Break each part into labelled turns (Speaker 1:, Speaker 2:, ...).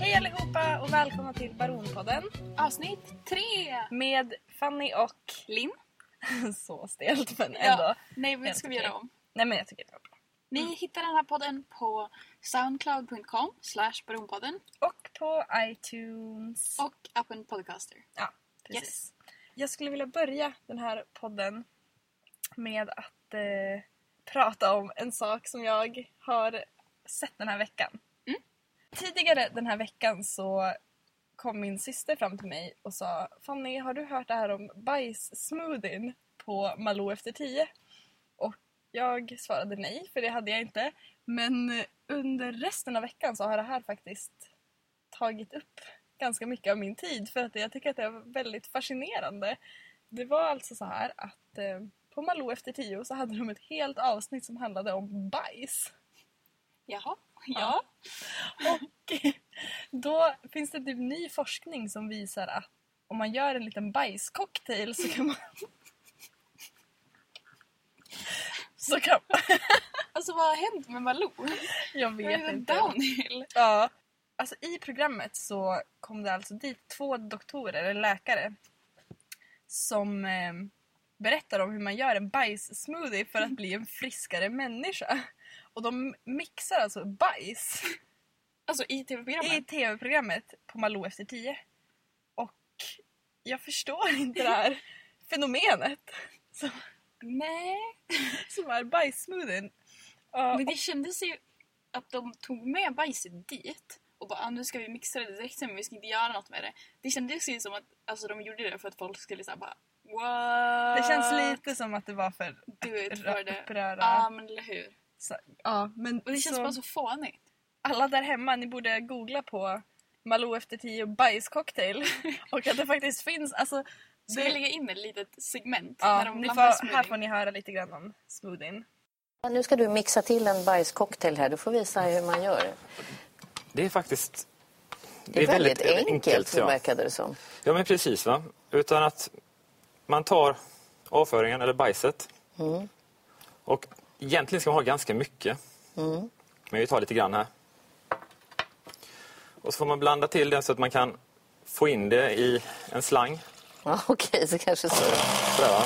Speaker 1: Hej allihopa och välkomna till Baronpodden
Speaker 2: Avsnitt tre!
Speaker 1: med Fanny och
Speaker 2: Linn?
Speaker 1: så stelt men
Speaker 2: Ja.
Speaker 1: ändå.
Speaker 2: Nej, men det
Speaker 1: Helt
Speaker 2: ska vi göra
Speaker 1: okej.
Speaker 2: om.
Speaker 1: Nej men jag tycker det var bra.
Speaker 2: Ni hittar den här podden på soundcloud.com slash baronpodden
Speaker 1: Och på iTunes.
Speaker 2: och appen Podcaster.
Speaker 1: Ja, precis.
Speaker 2: Yes.
Speaker 1: Jag skulle vilja börja den här podden med att eh, prata om en sak som jag har sett den här veckan.
Speaker 2: Mm.
Speaker 1: Tidigare den här veckan så kom min syster fram till mig och sa Fanny, har du hört det här om bajssmoothien på Malou efter tio? Och jag svarade nej, för det hade jag inte. Men under resten av veckan så har det här faktiskt tagit upp ganska mycket av min tid för att jag tycker att det är väldigt fascinerande. Det var alltså så här att eh, på Malou efter tio så hade de ett helt avsnitt som handlade om bajs.
Speaker 2: Jaha, ja.
Speaker 1: Ja. Och då finns det typ ny forskning som visar att om man gör en liten bajscocktail så kan man... så kan
Speaker 2: Alltså vad har hänt med Malou?
Speaker 1: Jag
Speaker 2: Vad är
Speaker 1: vet
Speaker 2: det
Speaker 1: inte.
Speaker 2: downhill?
Speaker 1: Ja. Alltså i programmet så kom det alltså dit två doktorer, eller läkare, som eh, berättar om hur man gör en bajssmoothie för att bli en friskare människa. Och de mixar alltså bajs
Speaker 2: Alltså i
Speaker 1: i
Speaker 2: tv-programmet?
Speaker 1: tv-programmet på Malou efter tio. Och jag förstår inte det här fenomenet
Speaker 2: Nej.
Speaker 1: som är bajssmoothien. Ja,
Speaker 2: Men det kändes ju att de tog med bajset dit och bara ah, nu ska vi mixa det direkt men vi ska inte göra något med det. Det kändes ju som att alltså, de gjorde det för att folk skulle säga bara What?
Speaker 1: det känns lite som att det var för
Speaker 2: Du är för
Speaker 1: ra-
Speaker 2: det.
Speaker 1: upprörare.
Speaker 2: Ja men eller hur.
Speaker 1: Ja, men
Speaker 2: Och det känns
Speaker 1: så-
Speaker 2: bara så fånigt.
Speaker 1: alla där hemma, ni borde googla på Malou efter tio och bajscocktail. och att det faktiskt finns. Alltså,
Speaker 2: Ska vi
Speaker 1: det,
Speaker 2: lägga in ett litet segment? när
Speaker 1: ja,
Speaker 2: de
Speaker 1: ni
Speaker 2: blandar
Speaker 1: får, här
Speaker 2: smoothie?
Speaker 1: får ni höra lite grann om smoothien.
Speaker 3: Ja, Nu ska du mixa till en bajscocktail här. Du får visa hur man gör.
Speaker 4: Det är faktiskt
Speaker 3: Det är, väldigt, enkelt,
Speaker 4: ja.
Speaker 3: verkade det som.
Speaker 4: ja, men precis. Va? Utan att man tar avföringen, eller bajset.
Speaker 3: Mm.
Speaker 4: Och egentligen ska man ha ganska mycket.
Speaker 3: Mm.
Speaker 4: Men vi tar lite grann här. Och så får man blanda till det så att man kan få in det i en slang.
Speaker 3: Ja, Okej, så kanske så.
Speaker 4: Sådär, va?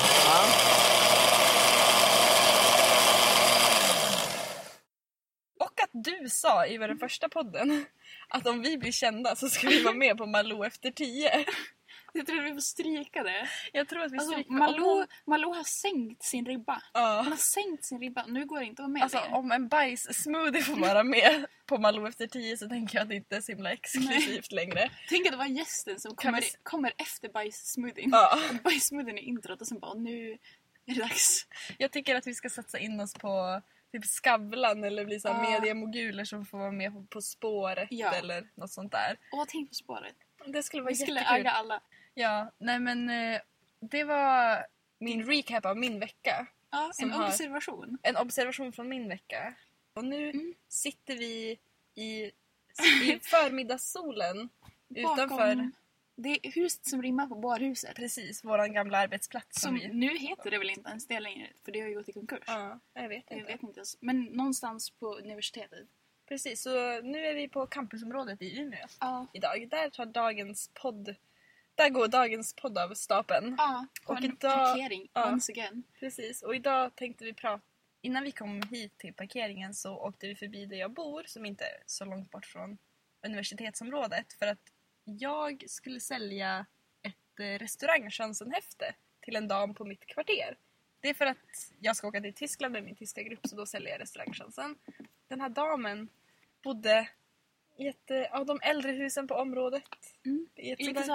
Speaker 1: Och att du sa i den första podden att om vi blir kända så ska vi vara med på Malou efter tio.
Speaker 2: Jag tror vi får stryka det.
Speaker 1: Jag tror att vi
Speaker 2: Alltså,
Speaker 1: stryker-
Speaker 2: Malou, Malou har sänkt sin ribba.
Speaker 1: Ja.
Speaker 2: Hon har sänkt sin ribba. Nu går det inte att vara med
Speaker 1: Alltså
Speaker 2: längre.
Speaker 1: om en bajs-smoothie får vara med på Malou efter tio så tänker jag att det inte är så himla exklusivt längre.
Speaker 2: Tänk att det var gästen
Speaker 1: Kan
Speaker 2: som kommer,
Speaker 1: vi s-
Speaker 2: kommer efter bajssmoothien.
Speaker 1: Ja.
Speaker 2: Och Bajssmoothien är introt och sen bara nu är det dags.
Speaker 1: Jag tycker att vi ska satsa in oss på typ Skavlan eller bli så här
Speaker 2: Ja.
Speaker 1: mediemoguler som får vara med på På spåret
Speaker 2: Ja.
Speaker 1: eller något sånt där.
Speaker 2: Åh, tänk på spåret.
Speaker 1: Det skulle vara
Speaker 2: Vi skulle
Speaker 1: jättekul.
Speaker 2: äga alla.
Speaker 1: Ja, nej men eh, det var min recap av min vecka.
Speaker 2: Ja,
Speaker 1: Som
Speaker 2: en
Speaker 1: har-
Speaker 2: observation.
Speaker 1: En observation från min vecka. Och nu
Speaker 2: Mm.
Speaker 1: sitter vi i, i förmiddagssolen utanför
Speaker 2: Bakom det är huset som rimmar på barhuset.
Speaker 1: precis våran gamla arbetsplats.
Speaker 2: Som
Speaker 1: Som vi,
Speaker 2: nu heter det väl inte ens det längre för det har ju gått i konkurs.
Speaker 1: ja, jag vet
Speaker 2: Jag
Speaker 1: inte.
Speaker 2: vet inte ens. Men någonstans på universitetet.
Speaker 1: Precis, så nu är vi på campusområdet i Umeå.
Speaker 2: Ja.
Speaker 1: idag. Där tar dagens podd... Där går dagens podd av stapeln.
Speaker 2: Ja, på
Speaker 1: Och
Speaker 2: en
Speaker 1: idag-
Speaker 2: parkering
Speaker 1: ja.
Speaker 2: once again.
Speaker 1: Precis. Och idag tänkte vi prata... Innan vi kom hit till parkeringen så åkte vi förbi där jag bor som inte är så långt bort från universitetsområdet för att jag skulle sälja ett eh, restaurangchansen-häfte till en dam på mitt kvarter. Det är för att jag ska åka till Tyskland med min tyska grupp så då säljer jag restaurangchansen. Den här damen bodde i ett eh, av de äldre husen på området.
Speaker 2: Mm.
Speaker 1: I ett
Speaker 2: Lite
Speaker 1: sådär-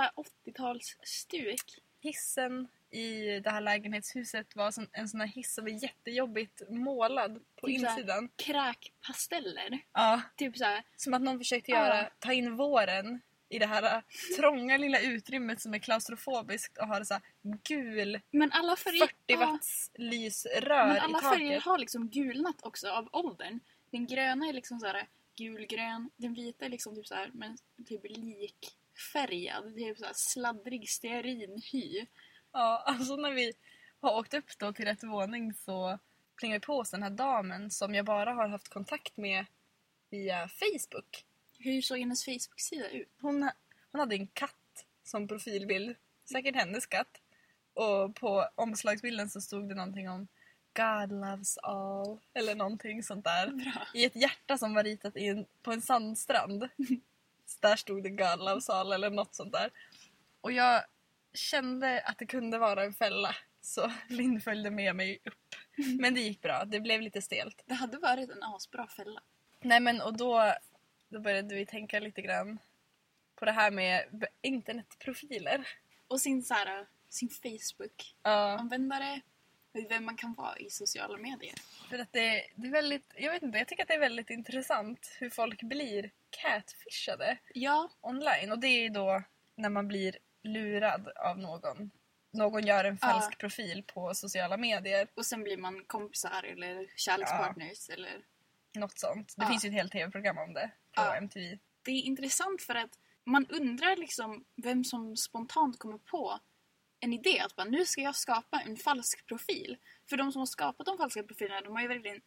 Speaker 2: såhär 80-talsstuk.
Speaker 1: hissen i det här lägenhetshuset var sån, en sån här hiss som är jättejobbigt målad på
Speaker 2: Typ så här.
Speaker 1: insidan.
Speaker 2: Kräkpasteller.
Speaker 1: Ja,
Speaker 2: Typ såhär,
Speaker 1: som att någon försökte
Speaker 2: Ja.
Speaker 1: göra, ta in våren i det här äh, trånga lilla utrymmet som är klaustrofobiskt och har så här gul
Speaker 2: men alla färger,
Speaker 1: 40
Speaker 2: ja,
Speaker 1: watts lysrör
Speaker 2: men
Speaker 1: i
Speaker 2: alla
Speaker 1: taket.
Speaker 2: färger har liksom gulnat också av åldern. Den gröna är liksom såhär gulgrön, den vita är liksom typ såhär men typ likfärgad. Typ såhär sladdrig stearinhy.
Speaker 1: Ja, alltså när vi har åkt upp då till rätt våning så plingar vi på oss den här damen som jag bara har haft kontakt med via Facebook.
Speaker 2: Hur såg hennes Facebook-sida ut?
Speaker 1: Hon, hon hade en katt som profilbild. Säkert hennes katt. Och på omslagsbilden så stod det någonting om God loves all. Eller någonting sånt där.
Speaker 2: Bra.
Speaker 1: I ett hjärta som var ritat i en, på en sandstrand. Så där stod det God loves all eller något sånt där. Och jag kände att det kunde vara en fälla. Så Linn följde med mig upp. Men det gick bra. Det blev lite stelt.
Speaker 2: Det hade varit en asbra fälla.
Speaker 1: Nej men och då, då började vi tänka lite grann på det här med b- internetprofiler.
Speaker 2: Och sin, så här, sin Facebook.
Speaker 1: Ja,
Speaker 2: Användare, vem man kan vara i sociala medier.
Speaker 1: för att det, det är väldigt, jag vet inte, jag tycker att det är väldigt intressant hur folk blir catfishade
Speaker 2: Ja,
Speaker 1: online. Och det är ju då när man blir lurad av någon. Någon gör en falsk
Speaker 2: Ja.
Speaker 1: profil på sociala medier,
Speaker 2: och sen blir man kompisar eller kärlekspartners. Eller...
Speaker 1: något sånt. Det
Speaker 2: Ja.
Speaker 1: finns ju ett helt tv-program om det på
Speaker 2: Ja.
Speaker 1: MTV.
Speaker 2: Det är intressant för att man undrar liksom vem som spontant kommer på en idé att bara, nu ska jag skapa en falsk profil. För de som har skapat de falska profilerna de har ju verkligen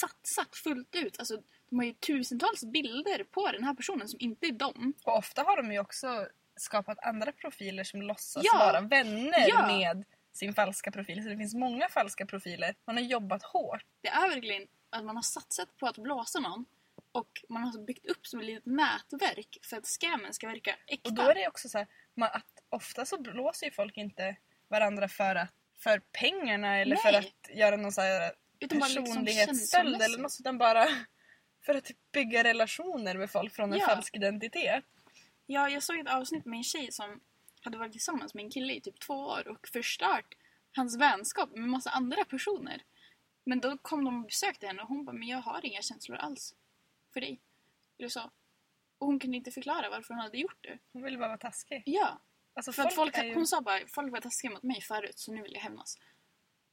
Speaker 2: satsat fullt ut. Alltså, de har ju tusentals bilder på den här personen som inte är dem.
Speaker 1: Och ofta har de ju också skapat andra profiler som låtsas
Speaker 2: Ja.
Speaker 1: vara vänner
Speaker 2: Ja.
Speaker 1: med sin falska profil. Så det finns många falska profiler. Man har jobbat hårt.
Speaker 2: Det är verkligen att man har satsat på att blåsa någon och man har byggt upp som ett litet nätverk för att scammen ska verka äkta.
Speaker 1: Och då är det också så här, man, att ofta så blåser ju folk inte varandra för, att, för pengarna eller för
Speaker 2: Nej.
Speaker 1: att göra någon så här
Speaker 2: Utan bara liksom
Speaker 1: personlighetsstöld eller
Speaker 2: känslomässigt.
Speaker 1: något utan bara för att typ bygga relationer med folk från en
Speaker 2: Ja.
Speaker 1: falsk identitet.
Speaker 2: Ja, jag såg ett avsnitt med en tjej som hade varit tillsammans med en kille i typ två år och förstört hans vänskap med massa andra personer. Men då kom de och besökte henne och hon bara “men jag har inga känslor alls för dig”. Eller så. Och hon kunde inte förklara varför hon hade gjort det.
Speaker 1: Hon vill bara vara taskig.
Speaker 2: Ja,
Speaker 1: Alltså,
Speaker 2: för att folk,
Speaker 1: är ju-
Speaker 2: hon sa bara “folk var taskiga mot mig förut så nu vill jag hämnas”.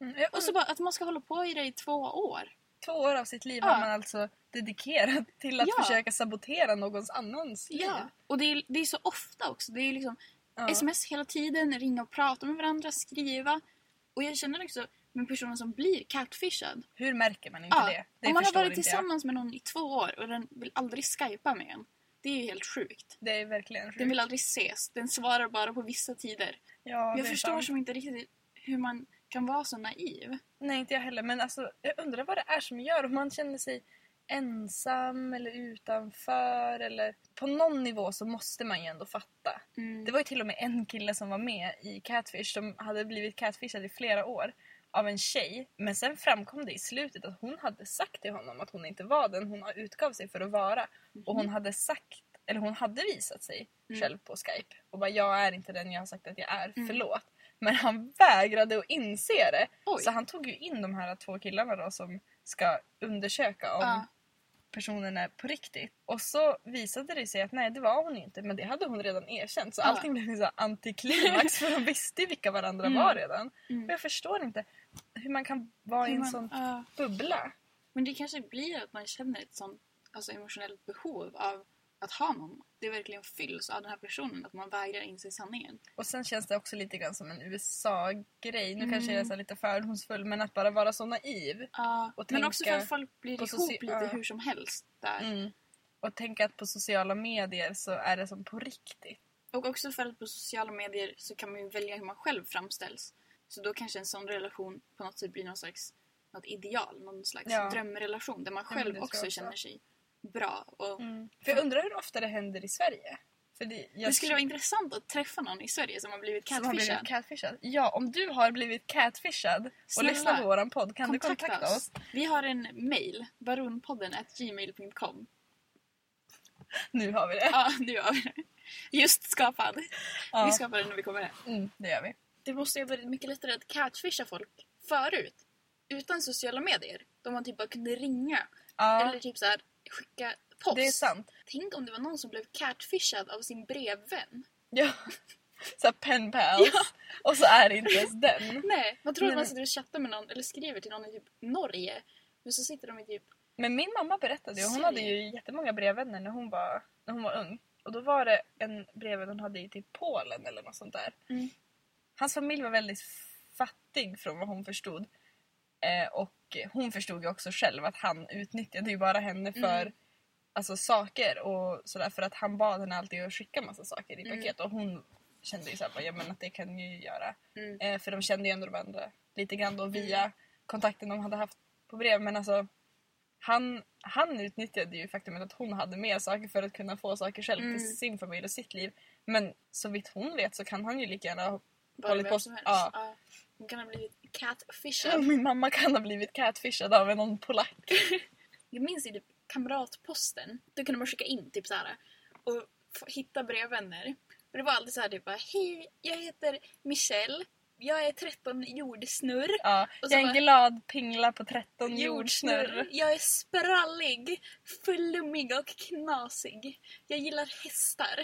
Speaker 1: Mm, jag
Speaker 2: Och så bara att man ska hålla på i det i två år.
Speaker 1: två år av sitt liv
Speaker 2: Ja.
Speaker 1: har man alltså dedikerat till att
Speaker 2: Ja.
Speaker 1: försöka sabotera någons annans liv.
Speaker 2: Och det är, det är så ofta också. Det är liksom
Speaker 1: Ja.
Speaker 2: sms hela tiden, ringa och prata med varandra, skriva. Och jag känner också med personer som blir catfishad.
Speaker 1: Hur märker man inte det? det
Speaker 2: Om man har
Speaker 1: förstår
Speaker 2: varit
Speaker 1: inte jag.
Speaker 2: tillsammans med någon i två år och den vill aldrig skypa med en. Det är ju helt sjukt.
Speaker 1: Det är verkligen
Speaker 2: Den
Speaker 1: sjukt.
Speaker 2: vill aldrig ses. Den svarar bara på vissa tider.
Speaker 1: Mm. Ja,
Speaker 2: jag
Speaker 1: det är
Speaker 2: förstår
Speaker 1: sant.
Speaker 2: som inte riktigt hur man kan vara så naiv.
Speaker 1: Nej, inte jag heller. Men alltså, jag undrar vad det är som gör om man känner sig ensam eller utanför eller på någon nivå så måste man ju ändå fatta.
Speaker 2: Mm.
Speaker 1: Det var ju till och med en kille som var med i Catfish som hade blivit catfishad i flera år av en tjej. Men sen framkom det i slutet att hon hade sagt till honom att hon inte var den hon utgav sig för att vara. Och hon hade sagt, eller hon hade visat sig
Speaker 2: Mhm. Mm.
Speaker 1: själv på Skype och bara jag är inte den jag har sagt att jag är,
Speaker 2: Mm.
Speaker 1: förlåt. Men han vägrade att inse det.
Speaker 2: Oj.
Speaker 1: Så han tog ju in de här två killarna då som ska undersöka om
Speaker 2: Ja.
Speaker 1: personen är på riktigt. Och så visade det sig att nej det var hon inte men det hade hon redan erkänt. Så
Speaker 2: Ja.
Speaker 1: allting blev en sån här antiklimax för de visste ju vilka varandra
Speaker 2: Mm.
Speaker 1: var redan.
Speaker 2: Mm.
Speaker 1: Och jag förstår inte hur man kan vara i
Speaker 2: Hur
Speaker 1: en
Speaker 2: man-
Speaker 1: sån
Speaker 2: ja.
Speaker 1: bubbla.
Speaker 2: Men det kanske blir att man känner ett sånt alltså emotionellt behov av att ha någon. Det verkligen fylls av den här personen, att man vägrar inse sanningen.
Speaker 1: Och sen känns det också lite grann som en USA-grej. Nu kanske
Speaker 2: Mm.
Speaker 1: jag är så här lite fördomsfull men att bara vara så naiv. Och
Speaker 2: men också för
Speaker 1: tänka
Speaker 2: att folk blir
Speaker 1: på
Speaker 2: ihop
Speaker 1: soci-
Speaker 2: lite
Speaker 1: ja.
Speaker 2: hur som helst där.
Speaker 1: Mm. Och tänka att på sociala medier så är det som på riktigt.
Speaker 2: Och också för att på sociala medier så kan man ju välja hur man själv framställs. Så då kanske en sån relation på något sätt blir någon slags något ideal, någon slags
Speaker 1: Ja.
Speaker 2: drömrelation där man
Speaker 1: men det
Speaker 2: själv
Speaker 1: tror jag
Speaker 2: också
Speaker 1: också.
Speaker 2: känner sig bra. Och
Speaker 1: För jag undrar hur ofta det händer i Sverige. För det, jag
Speaker 2: Det skulle vara intressant att träffa någon i Sverige som har blivit
Speaker 1: som har
Speaker 2: catfishad.
Speaker 1: blivit catfishad. Ja, om du har blivit catfishad och
Speaker 2: Snälla,
Speaker 1: lyssnar på våran podd kan du kontakta oss.
Speaker 2: Vi har en mail, baronpodden gmail.com.
Speaker 1: Nu har vi det.
Speaker 2: Ja, nu har vi det. Just skapad.
Speaker 1: Ja.
Speaker 2: Vi skapar den när vi kommer hem.
Speaker 1: Mm, det gör vi.
Speaker 2: Det måste ju ha varit mycket lättare att catfisha folk förut. Utan sociala medier. Då man typ bara kunde ringa
Speaker 1: Ja,
Speaker 2: Eller typ så här, skicka post.
Speaker 1: det är sant.
Speaker 2: Tänk om det var någon som blev catfishad av sin brevvän.
Speaker 1: Ja. Så här pen pals. Och så är det inte ens den.
Speaker 2: Nej, man tror
Speaker 1: Nej,
Speaker 2: att man
Speaker 1: men-
Speaker 2: sitter och chattar med någon eller skriver till någon i typ Norge. Men så sitter de i typ...
Speaker 1: Men min mamma berättade ju, hon
Speaker 2: Sverige.
Speaker 1: hade ju jättemånga brevvänner när hon var, när hon var ung. Och då var det en brevvän hon hade i typ Polen eller något sånt där.
Speaker 2: Mm.
Speaker 1: Hans familj var väldigt fattig från vad hon förstod. Eh, och hon förstod ju också själv att han utnyttjade ju bara henne för alltså, saker och sådär för att han bad henne alltid att skicka massa saker i paket och hon kände ju såhär, bara, ja men att det kan ju göra.
Speaker 2: Mm.
Speaker 1: Eh, för de kände ju ändå de andra lite grann då via kontakten de hade haft på brev men alltså han, han utnyttjade ju faktumet att hon hade mer saker för att kunna få saker själv
Speaker 2: Mm.
Speaker 1: till sin familj och sitt liv. Men så vitt hon vet så kan han ju lika gärna ha
Speaker 2: Bara
Speaker 1: hållit
Speaker 2: vem
Speaker 1: på...
Speaker 2: som helst.
Speaker 1: Ja.
Speaker 2: Ja. Hon kan ha blivit catfishad.
Speaker 1: Ja, Min mamma kan ha blivit catfishad av någon polack.
Speaker 2: Jag minns i typ kamratposten, då kunde man skicka in typ så här och få hitta brevvänner. Och det var alltid så här typ bara, hej, jag heter Michelle, jag är 13 jordsnurr.
Speaker 1: Ja.
Speaker 2: Och
Speaker 1: Jag
Speaker 2: så
Speaker 1: är en
Speaker 2: bara-
Speaker 1: glad pingla på 13 jordsnurr.
Speaker 2: Jag är sprallig, flummig och knasig. Jag gillar hästar.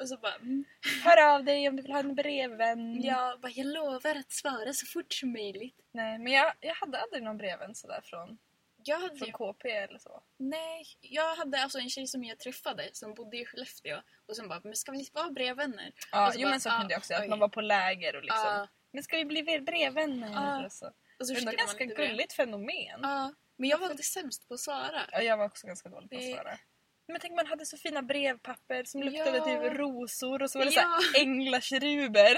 Speaker 2: Och så bara, mm.
Speaker 1: Hör av dig om du vill ha en brevvän.
Speaker 2: jag, bara, jag lovar att svara så fort som möjligt.
Speaker 1: Nej, men jag, jag hade aldrig någon brevvän sådär från,
Speaker 2: Jag hade
Speaker 1: från
Speaker 2: ju
Speaker 1: KP eller så.
Speaker 2: Nej, jag hade alltså en tjej som jag träffade som bodde i Skellefteå och som bara “men ska vi vara brevvänner?”
Speaker 1: Ja,
Speaker 2: Och så
Speaker 1: jo
Speaker 2: bara,
Speaker 1: men så
Speaker 2: ah,
Speaker 1: kunde jag också Att
Speaker 2: oj. Ah.
Speaker 1: man var på läger och liksom.
Speaker 2: Ja.
Speaker 1: Men ska vi bli brevvänner?
Speaker 2: Ja.
Speaker 1: Och så.
Speaker 2: Och så
Speaker 1: Det Alltså- är ändå
Speaker 2: skickade Ah. man Ah.
Speaker 1: ganska
Speaker 2: lite brev.
Speaker 1: gulligt fenomen.
Speaker 2: Ja, men jag var alltid sämst på att svara.
Speaker 1: Ja, jag var också ganska dålig på att
Speaker 2: Det-
Speaker 1: svara. Men tänk man hade så fina brevpapper som luktade
Speaker 2: Ja.
Speaker 1: typ rosor och så var det
Speaker 2: Ja.
Speaker 1: såhär änglakeruber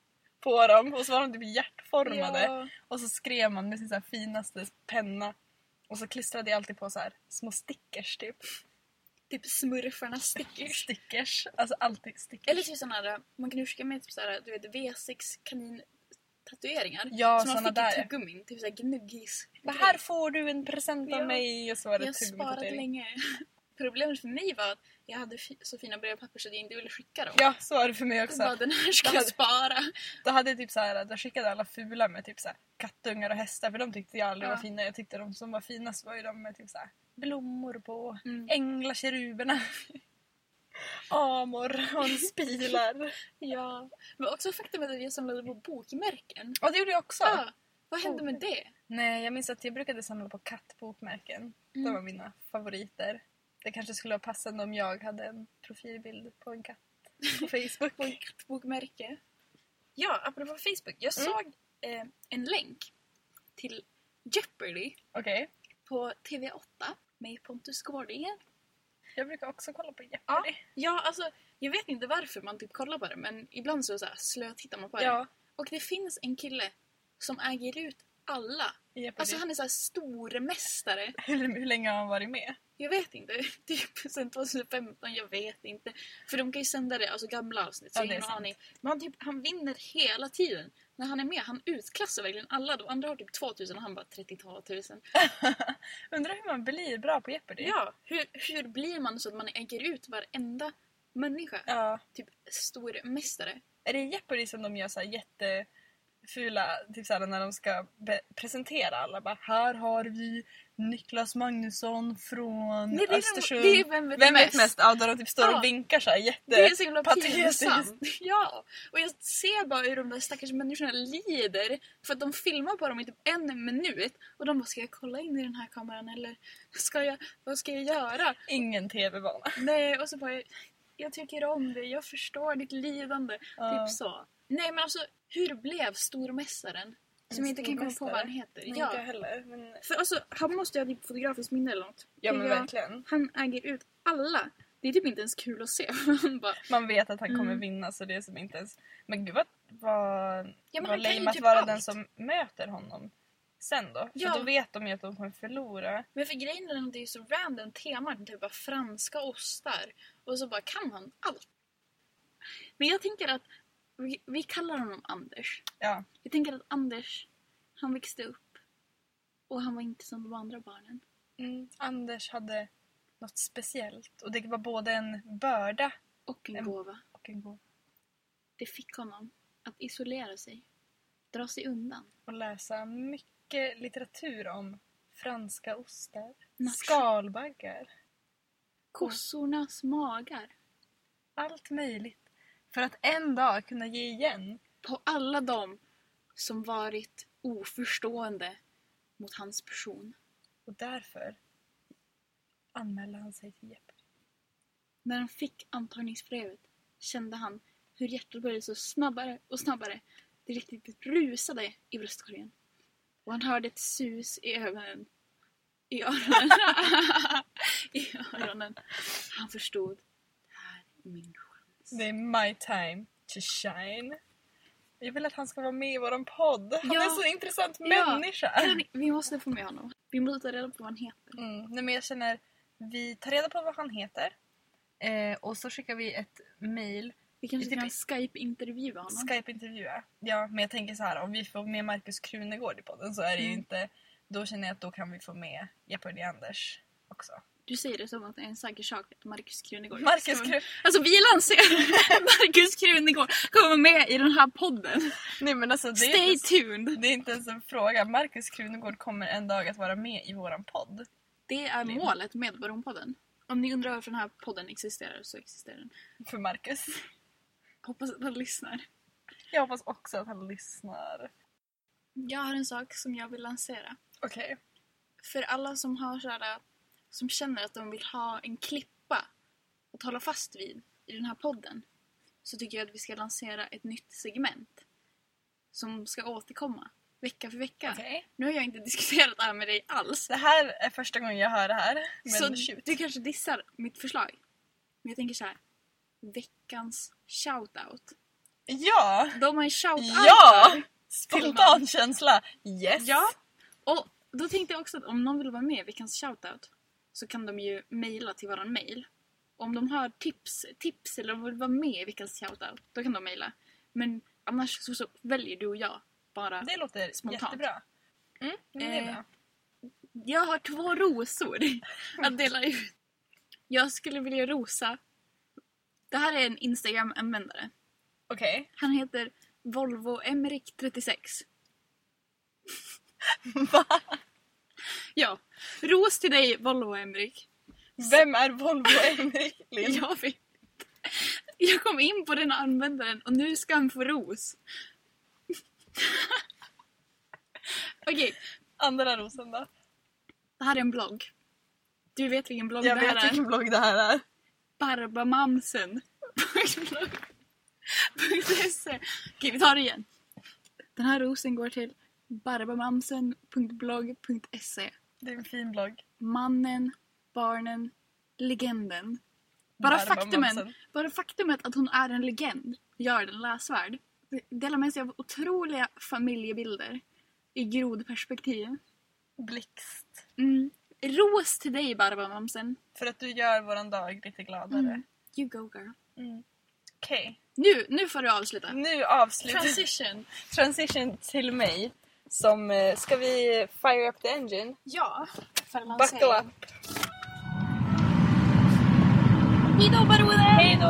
Speaker 1: på dem och så var de typ hjärtformade.
Speaker 2: Ja.
Speaker 1: Och så skrev man med sin så här finaste penna och så klistrade jag alltid på så här små stickers typ.
Speaker 2: Typ smurfarna stickers.
Speaker 1: Stickers, alltså alltid stickers.
Speaker 2: Eller typ sådana här, man kan ju skicka med typ såhär, du vet V6 kanin tatueringar.
Speaker 1: Ja,
Speaker 2: som man
Speaker 1: såna
Speaker 2: fick
Speaker 1: där,
Speaker 2: i
Speaker 1: ja.
Speaker 2: tuggummin. Typ såhär gnuggis.
Speaker 1: Bara, här får du en present av
Speaker 2: Ja.
Speaker 1: mig och så var det
Speaker 2: Jag har sparat
Speaker 1: tuggummi-tatuering.
Speaker 2: länge. Problemet för mig var att jag hade fi- så fina brevpapper så att jag inte ville skicka dem.
Speaker 1: Ja, så var det för mig
Speaker 2: Så
Speaker 1: också.
Speaker 2: bara, den här ska jag
Speaker 1: hade-
Speaker 2: spara.
Speaker 1: Då hade jag typ så här, då skickade alla fula med typ så här, kattungar och hästar för de tyckte jag aldrig
Speaker 2: Ja.
Speaker 1: var fina. Jag tyckte de som var finast var ju de med typ så här, blommor på,
Speaker 2: Mm.
Speaker 1: änglakeruberna, amor, hanspilar.
Speaker 2: Ja. Men också faktumet att jag samlade på bokmärken.
Speaker 1: Ja det gjorde jag också.
Speaker 2: Ja. Vad hände med det?
Speaker 1: Nej jag minns att jag brukade samla på kattbokmärken. De
Speaker 2: Mm.
Speaker 1: var mina favoriter. Det kanske skulle vara passande om jag hade en profilbild på en katt på Facebook.
Speaker 2: Bokmärke. Ja, apropå Facebook. Jag
Speaker 1: Mm.
Speaker 2: såg eh, en länk till Jeopardy
Speaker 1: Okej.
Speaker 2: på TV8 med Pontus Gårdinger.
Speaker 1: Jag brukar också kolla på
Speaker 2: Ja,
Speaker 1: Jeopardy.
Speaker 2: ja, alltså jag vet inte varför man typ kollar på det men ibland så, så här, slötittar man på det.
Speaker 1: Ja,
Speaker 2: Och det finns en kille som äger ut alla.
Speaker 1: i Jeopardy.
Speaker 2: Alltså han är så här stormästare.
Speaker 1: hur, hur länge har han varit med?
Speaker 2: Jag vet inte. Typ sen 2015, jag vet inte. För de kan ju sända det, alltså gamla avsnitt. Så
Speaker 1: Ja,
Speaker 2: jag
Speaker 1: det
Speaker 2: har
Speaker 1: är
Speaker 2: ingen
Speaker 1: sant.
Speaker 2: aning. Men han, typ, han vinner hela tiden. När han är med, han utklassar verkligen alla. De andra har typ 2000 och han bara 32 000.
Speaker 1: Undrar hur man blir bra på Jeopardy.
Speaker 2: Ja, hur, hur blir man så att man äger ut varenda människa?
Speaker 1: Ja. Mm,
Speaker 2: Typ stormästare.
Speaker 1: Är det i Jeopardy som de gör så här jättefula, typ så här när de ska be- presentera alla bara här har vi Niklas Magnusson från
Speaker 2: Nej, det, är,
Speaker 1: Östersund.
Speaker 2: det är Vem vet
Speaker 1: Vem
Speaker 2: mest?
Speaker 1: vet mest? Ja, där de typ står
Speaker 2: Ja.
Speaker 1: och vinkar så här jätte...
Speaker 2: Det är så himla
Speaker 1: patetiskt.
Speaker 2: pinsamt. Ja. Och jag ser bara hur de där stackars människorna lider för att de filmar på dem i typ en minut och de bara “ska jag kolla in i den här kameran eller ska jag, vad ska jag göra?”
Speaker 1: Ingen TV-vana.
Speaker 2: Nej, och så bara “jag tycker om dig, jag förstår ditt lidande”.
Speaker 1: Ja.
Speaker 2: Typ så. Nej men alltså, hur blev stormästaren? Som
Speaker 1: En
Speaker 2: jag inte kan komma på vad han
Speaker 1: stormästare?
Speaker 2: heter.
Speaker 1: Nej, inte jag
Speaker 2: ja.
Speaker 1: heller. Men...
Speaker 2: För alltså, han måste ju ha typ fotografiskt minne eller något.
Speaker 1: Ja
Speaker 2: För
Speaker 1: men
Speaker 2: jag-
Speaker 1: verkligen.
Speaker 2: Han äger ut alla. Det är typ inte ens kul att se. Han bara,
Speaker 1: Man vet att han kommer
Speaker 2: Mm.
Speaker 1: vinna så det är som inte ens... Men gud vad, vad,
Speaker 2: Ja, men han
Speaker 1: vad
Speaker 2: kan ju
Speaker 1: lame att
Speaker 2: typ
Speaker 1: vara
Speaker 2: allt.
Speaker 1: den som möter honom sen då. För
Speaker 2: Ja.
Speaker 1: då vet de ju att de kommer förlora.
Speaker 2: Men för grejen är att det är så random teman, typ bara franska ostar. Och så bara kan han allt. Men jag tänker att vi, vi kallar honom Anders.
Speaker 1: Ja.
Speaker 2: Jag tänker att Anders, han växte upp och han var inte som de andra barnen.
Speaker 1: Mm, Anders hade något speciellt och det var både en börda
Speaker 2: Och en
Speaker 1: Mm.
Speaker 2: gåva.
Speaker 1: och en gåva.
Speaker 2: Det fick honom att isolera sig, dra sig undan.
Speaker 1: Och läsa mycket litteratur om franska ostar,
Speaker 2: Nation-
Speaker 1: skalbaggar,
Speaker 2: Kossornas magar.
Speaker 1: allt möjligt. För att en dag kunna ge igen.
Speaker 2: På alla dem som varit oförstående mot hans person.
Speaker 1: Och därför anmälde han sig till Jeopardy.
Speaker 2: När han fick antagningsbrevet kände han hur hjärtat började så snabbare och snabbare. Det riktigt rusade i bröstkorgen. Och han hörde ett sus i ögonen. I öronen. I öronen. morgonen. Han förstod. Det här är min chans.
Speaker 1: Det är my time to shine. Jag vill att han ska vara med i vår podd. Han
Speaker 2: Ja.
Speaker 1: är en så intressant
Speaker 2: Ja.
Speaker 1: människa.
Speaker 2: Henrik, Vi måste få med honom. Vi måste ta reda på vad han heter.
Speaker 1: Mm. Nej, men jag känner, vi tar reda på vad han heter. Eh, och så skickar vi ett mail.
Speaker 2: Vi kanske
Speaker 1: Det är
Speaker 2: kan
Speaker 1: typ-
Speaker 2: Skype-intervjua honom.
Speaker 1: Skype-intervjua. Ja, men jag tänker så här, om vi får med Markus Krunegård i podden så är det ju
Speaker 2: Mm.
Speaker 1: inte... Då känner jag att då kan vi få med Jeopardy Anders också.
Speaker 2: Du säger det som att det är en säker sak att Markus Krunegård...
Speaker 1: Markus
Speaker 2: ska-
Speaker 1: Krun...
Speaker 2: Alltså vi lanserar Markus Krunegård kommer med i den här podden.
Speaker 1: Nej men alltså det är,
Speaker 2: Stay
Speaker 1: inte,
Speaker 2: tuned!
Speaker 1: det är inte ens en fråga. Markus Krunegård kommer en dag att vara med i våran podd.
Speaker 2: Det är målet med Baronpodden. Om ni undrar varför den här podden existerar så existerar den.
Speaker 1: För Markus.
Speaker 2: Hoppas att han lyssnar.
Speaker 1: Jag hoppas också att han lyssnar.
Speaker 2: Jag har en sak som jag vill lansera.
Speaker 1: Okej.
Speaker 2: För alla som har så här, som känner att de vill ha en klippa att hålla fast vid i den här podden så tycker jag att vi ska lansera ett nytt segment som ska återkomma vecka för vecka.
Speaker 1: Okej.
Speaker 2: Nu har jag inte diskuterat det här med dig alls.
Speaker 1: Det här är första gången jag hör det här. Men
Speaker 2: så
Speaker 1: shoot.
Speaker 2: du kanske dissar mitt förslag. Men jag tänker så här. Veckans shoutout.
Speaker 1: Ja!
Speaker 2: De har en shoutout
Speaker 1: Ja!
Speaker 2: för-
Speaker 1: Spontan känsla. Yes!
Speaker 2: Ja. Och då tänkte jag också att om någon vill vara med i veckans shoutout så kan de ju mejla till våran mejl. Om de har tips, tips eller om de vill vara med i veckans shoutout, då kan de mejla. Men annars så, så väljer du och jag bara.
Speaker 1: Det låter
Speaker 2: Spontant.
Speaker 1: jättebra. Mm, men det är
Speaker 2: Eh,
Speaker 1: bra.
Speaker 2: Jag har två rosor att dela ut. Jag skulle vilja rosa... Det här är en Instagram-användare.
Speaker 1: Okej.
Speaker 2: Han heter Volvo Emerick 36.
Speaker 1: Va?
Speaker 2: Ja, ros till dig Volvo Emerick.
Speaker 1: Vem är Volvo Emrik Lind?
Speaker 2: Jag vet. Jag kom in på den användaren och nu ska han få ros. Okej,
Speaker 1: Andra rosen då?
Speaker 2: det här är en blogg. Du vet vilken blogg
Speaker 1: Jag
Speaker 2: det här
Speaker 1: vet
Speaker 2: är?
Speaker 1: vilken blogg det här är.
Speaker 2: Barbamamsen. .blogg.se. Okej, vi tar det igen. Den här rosen går till barbamamsen.blogg.se.
Speaker 1: Det är en fin blogg.
Speaker 2: E. Mannen, barnen, legenden. Bara
Speaker 1: Barbara
Speaker 2: faktumet,
Speaker 1: Mamsen.
Speaker 2: bara faktumet att hon är en legend gör den läsvärd. Det delar med sig av otroliga familjebilder i grodperspektiv.
Speaker 1: Blixt.
Speaker 2: Mm. Ros till dig Barbara Mamsen.
Speaker 1: För att du gör våran dag lite gladare.
Speaker 2: Mm. You go girl.
Speaker 1: Okej,
Speaker 2: Nu, nu får du avsluta.
Speaker 1: nu avslutar
Speaker 2: Transition.
Speaker 1: Transition till mig. Som, eh, ska vi fire up the engine?
Speaker 2: Ja.
Speaker 1: Buckle up!
Speaker 2: Hejdå Baronen! Hejdå!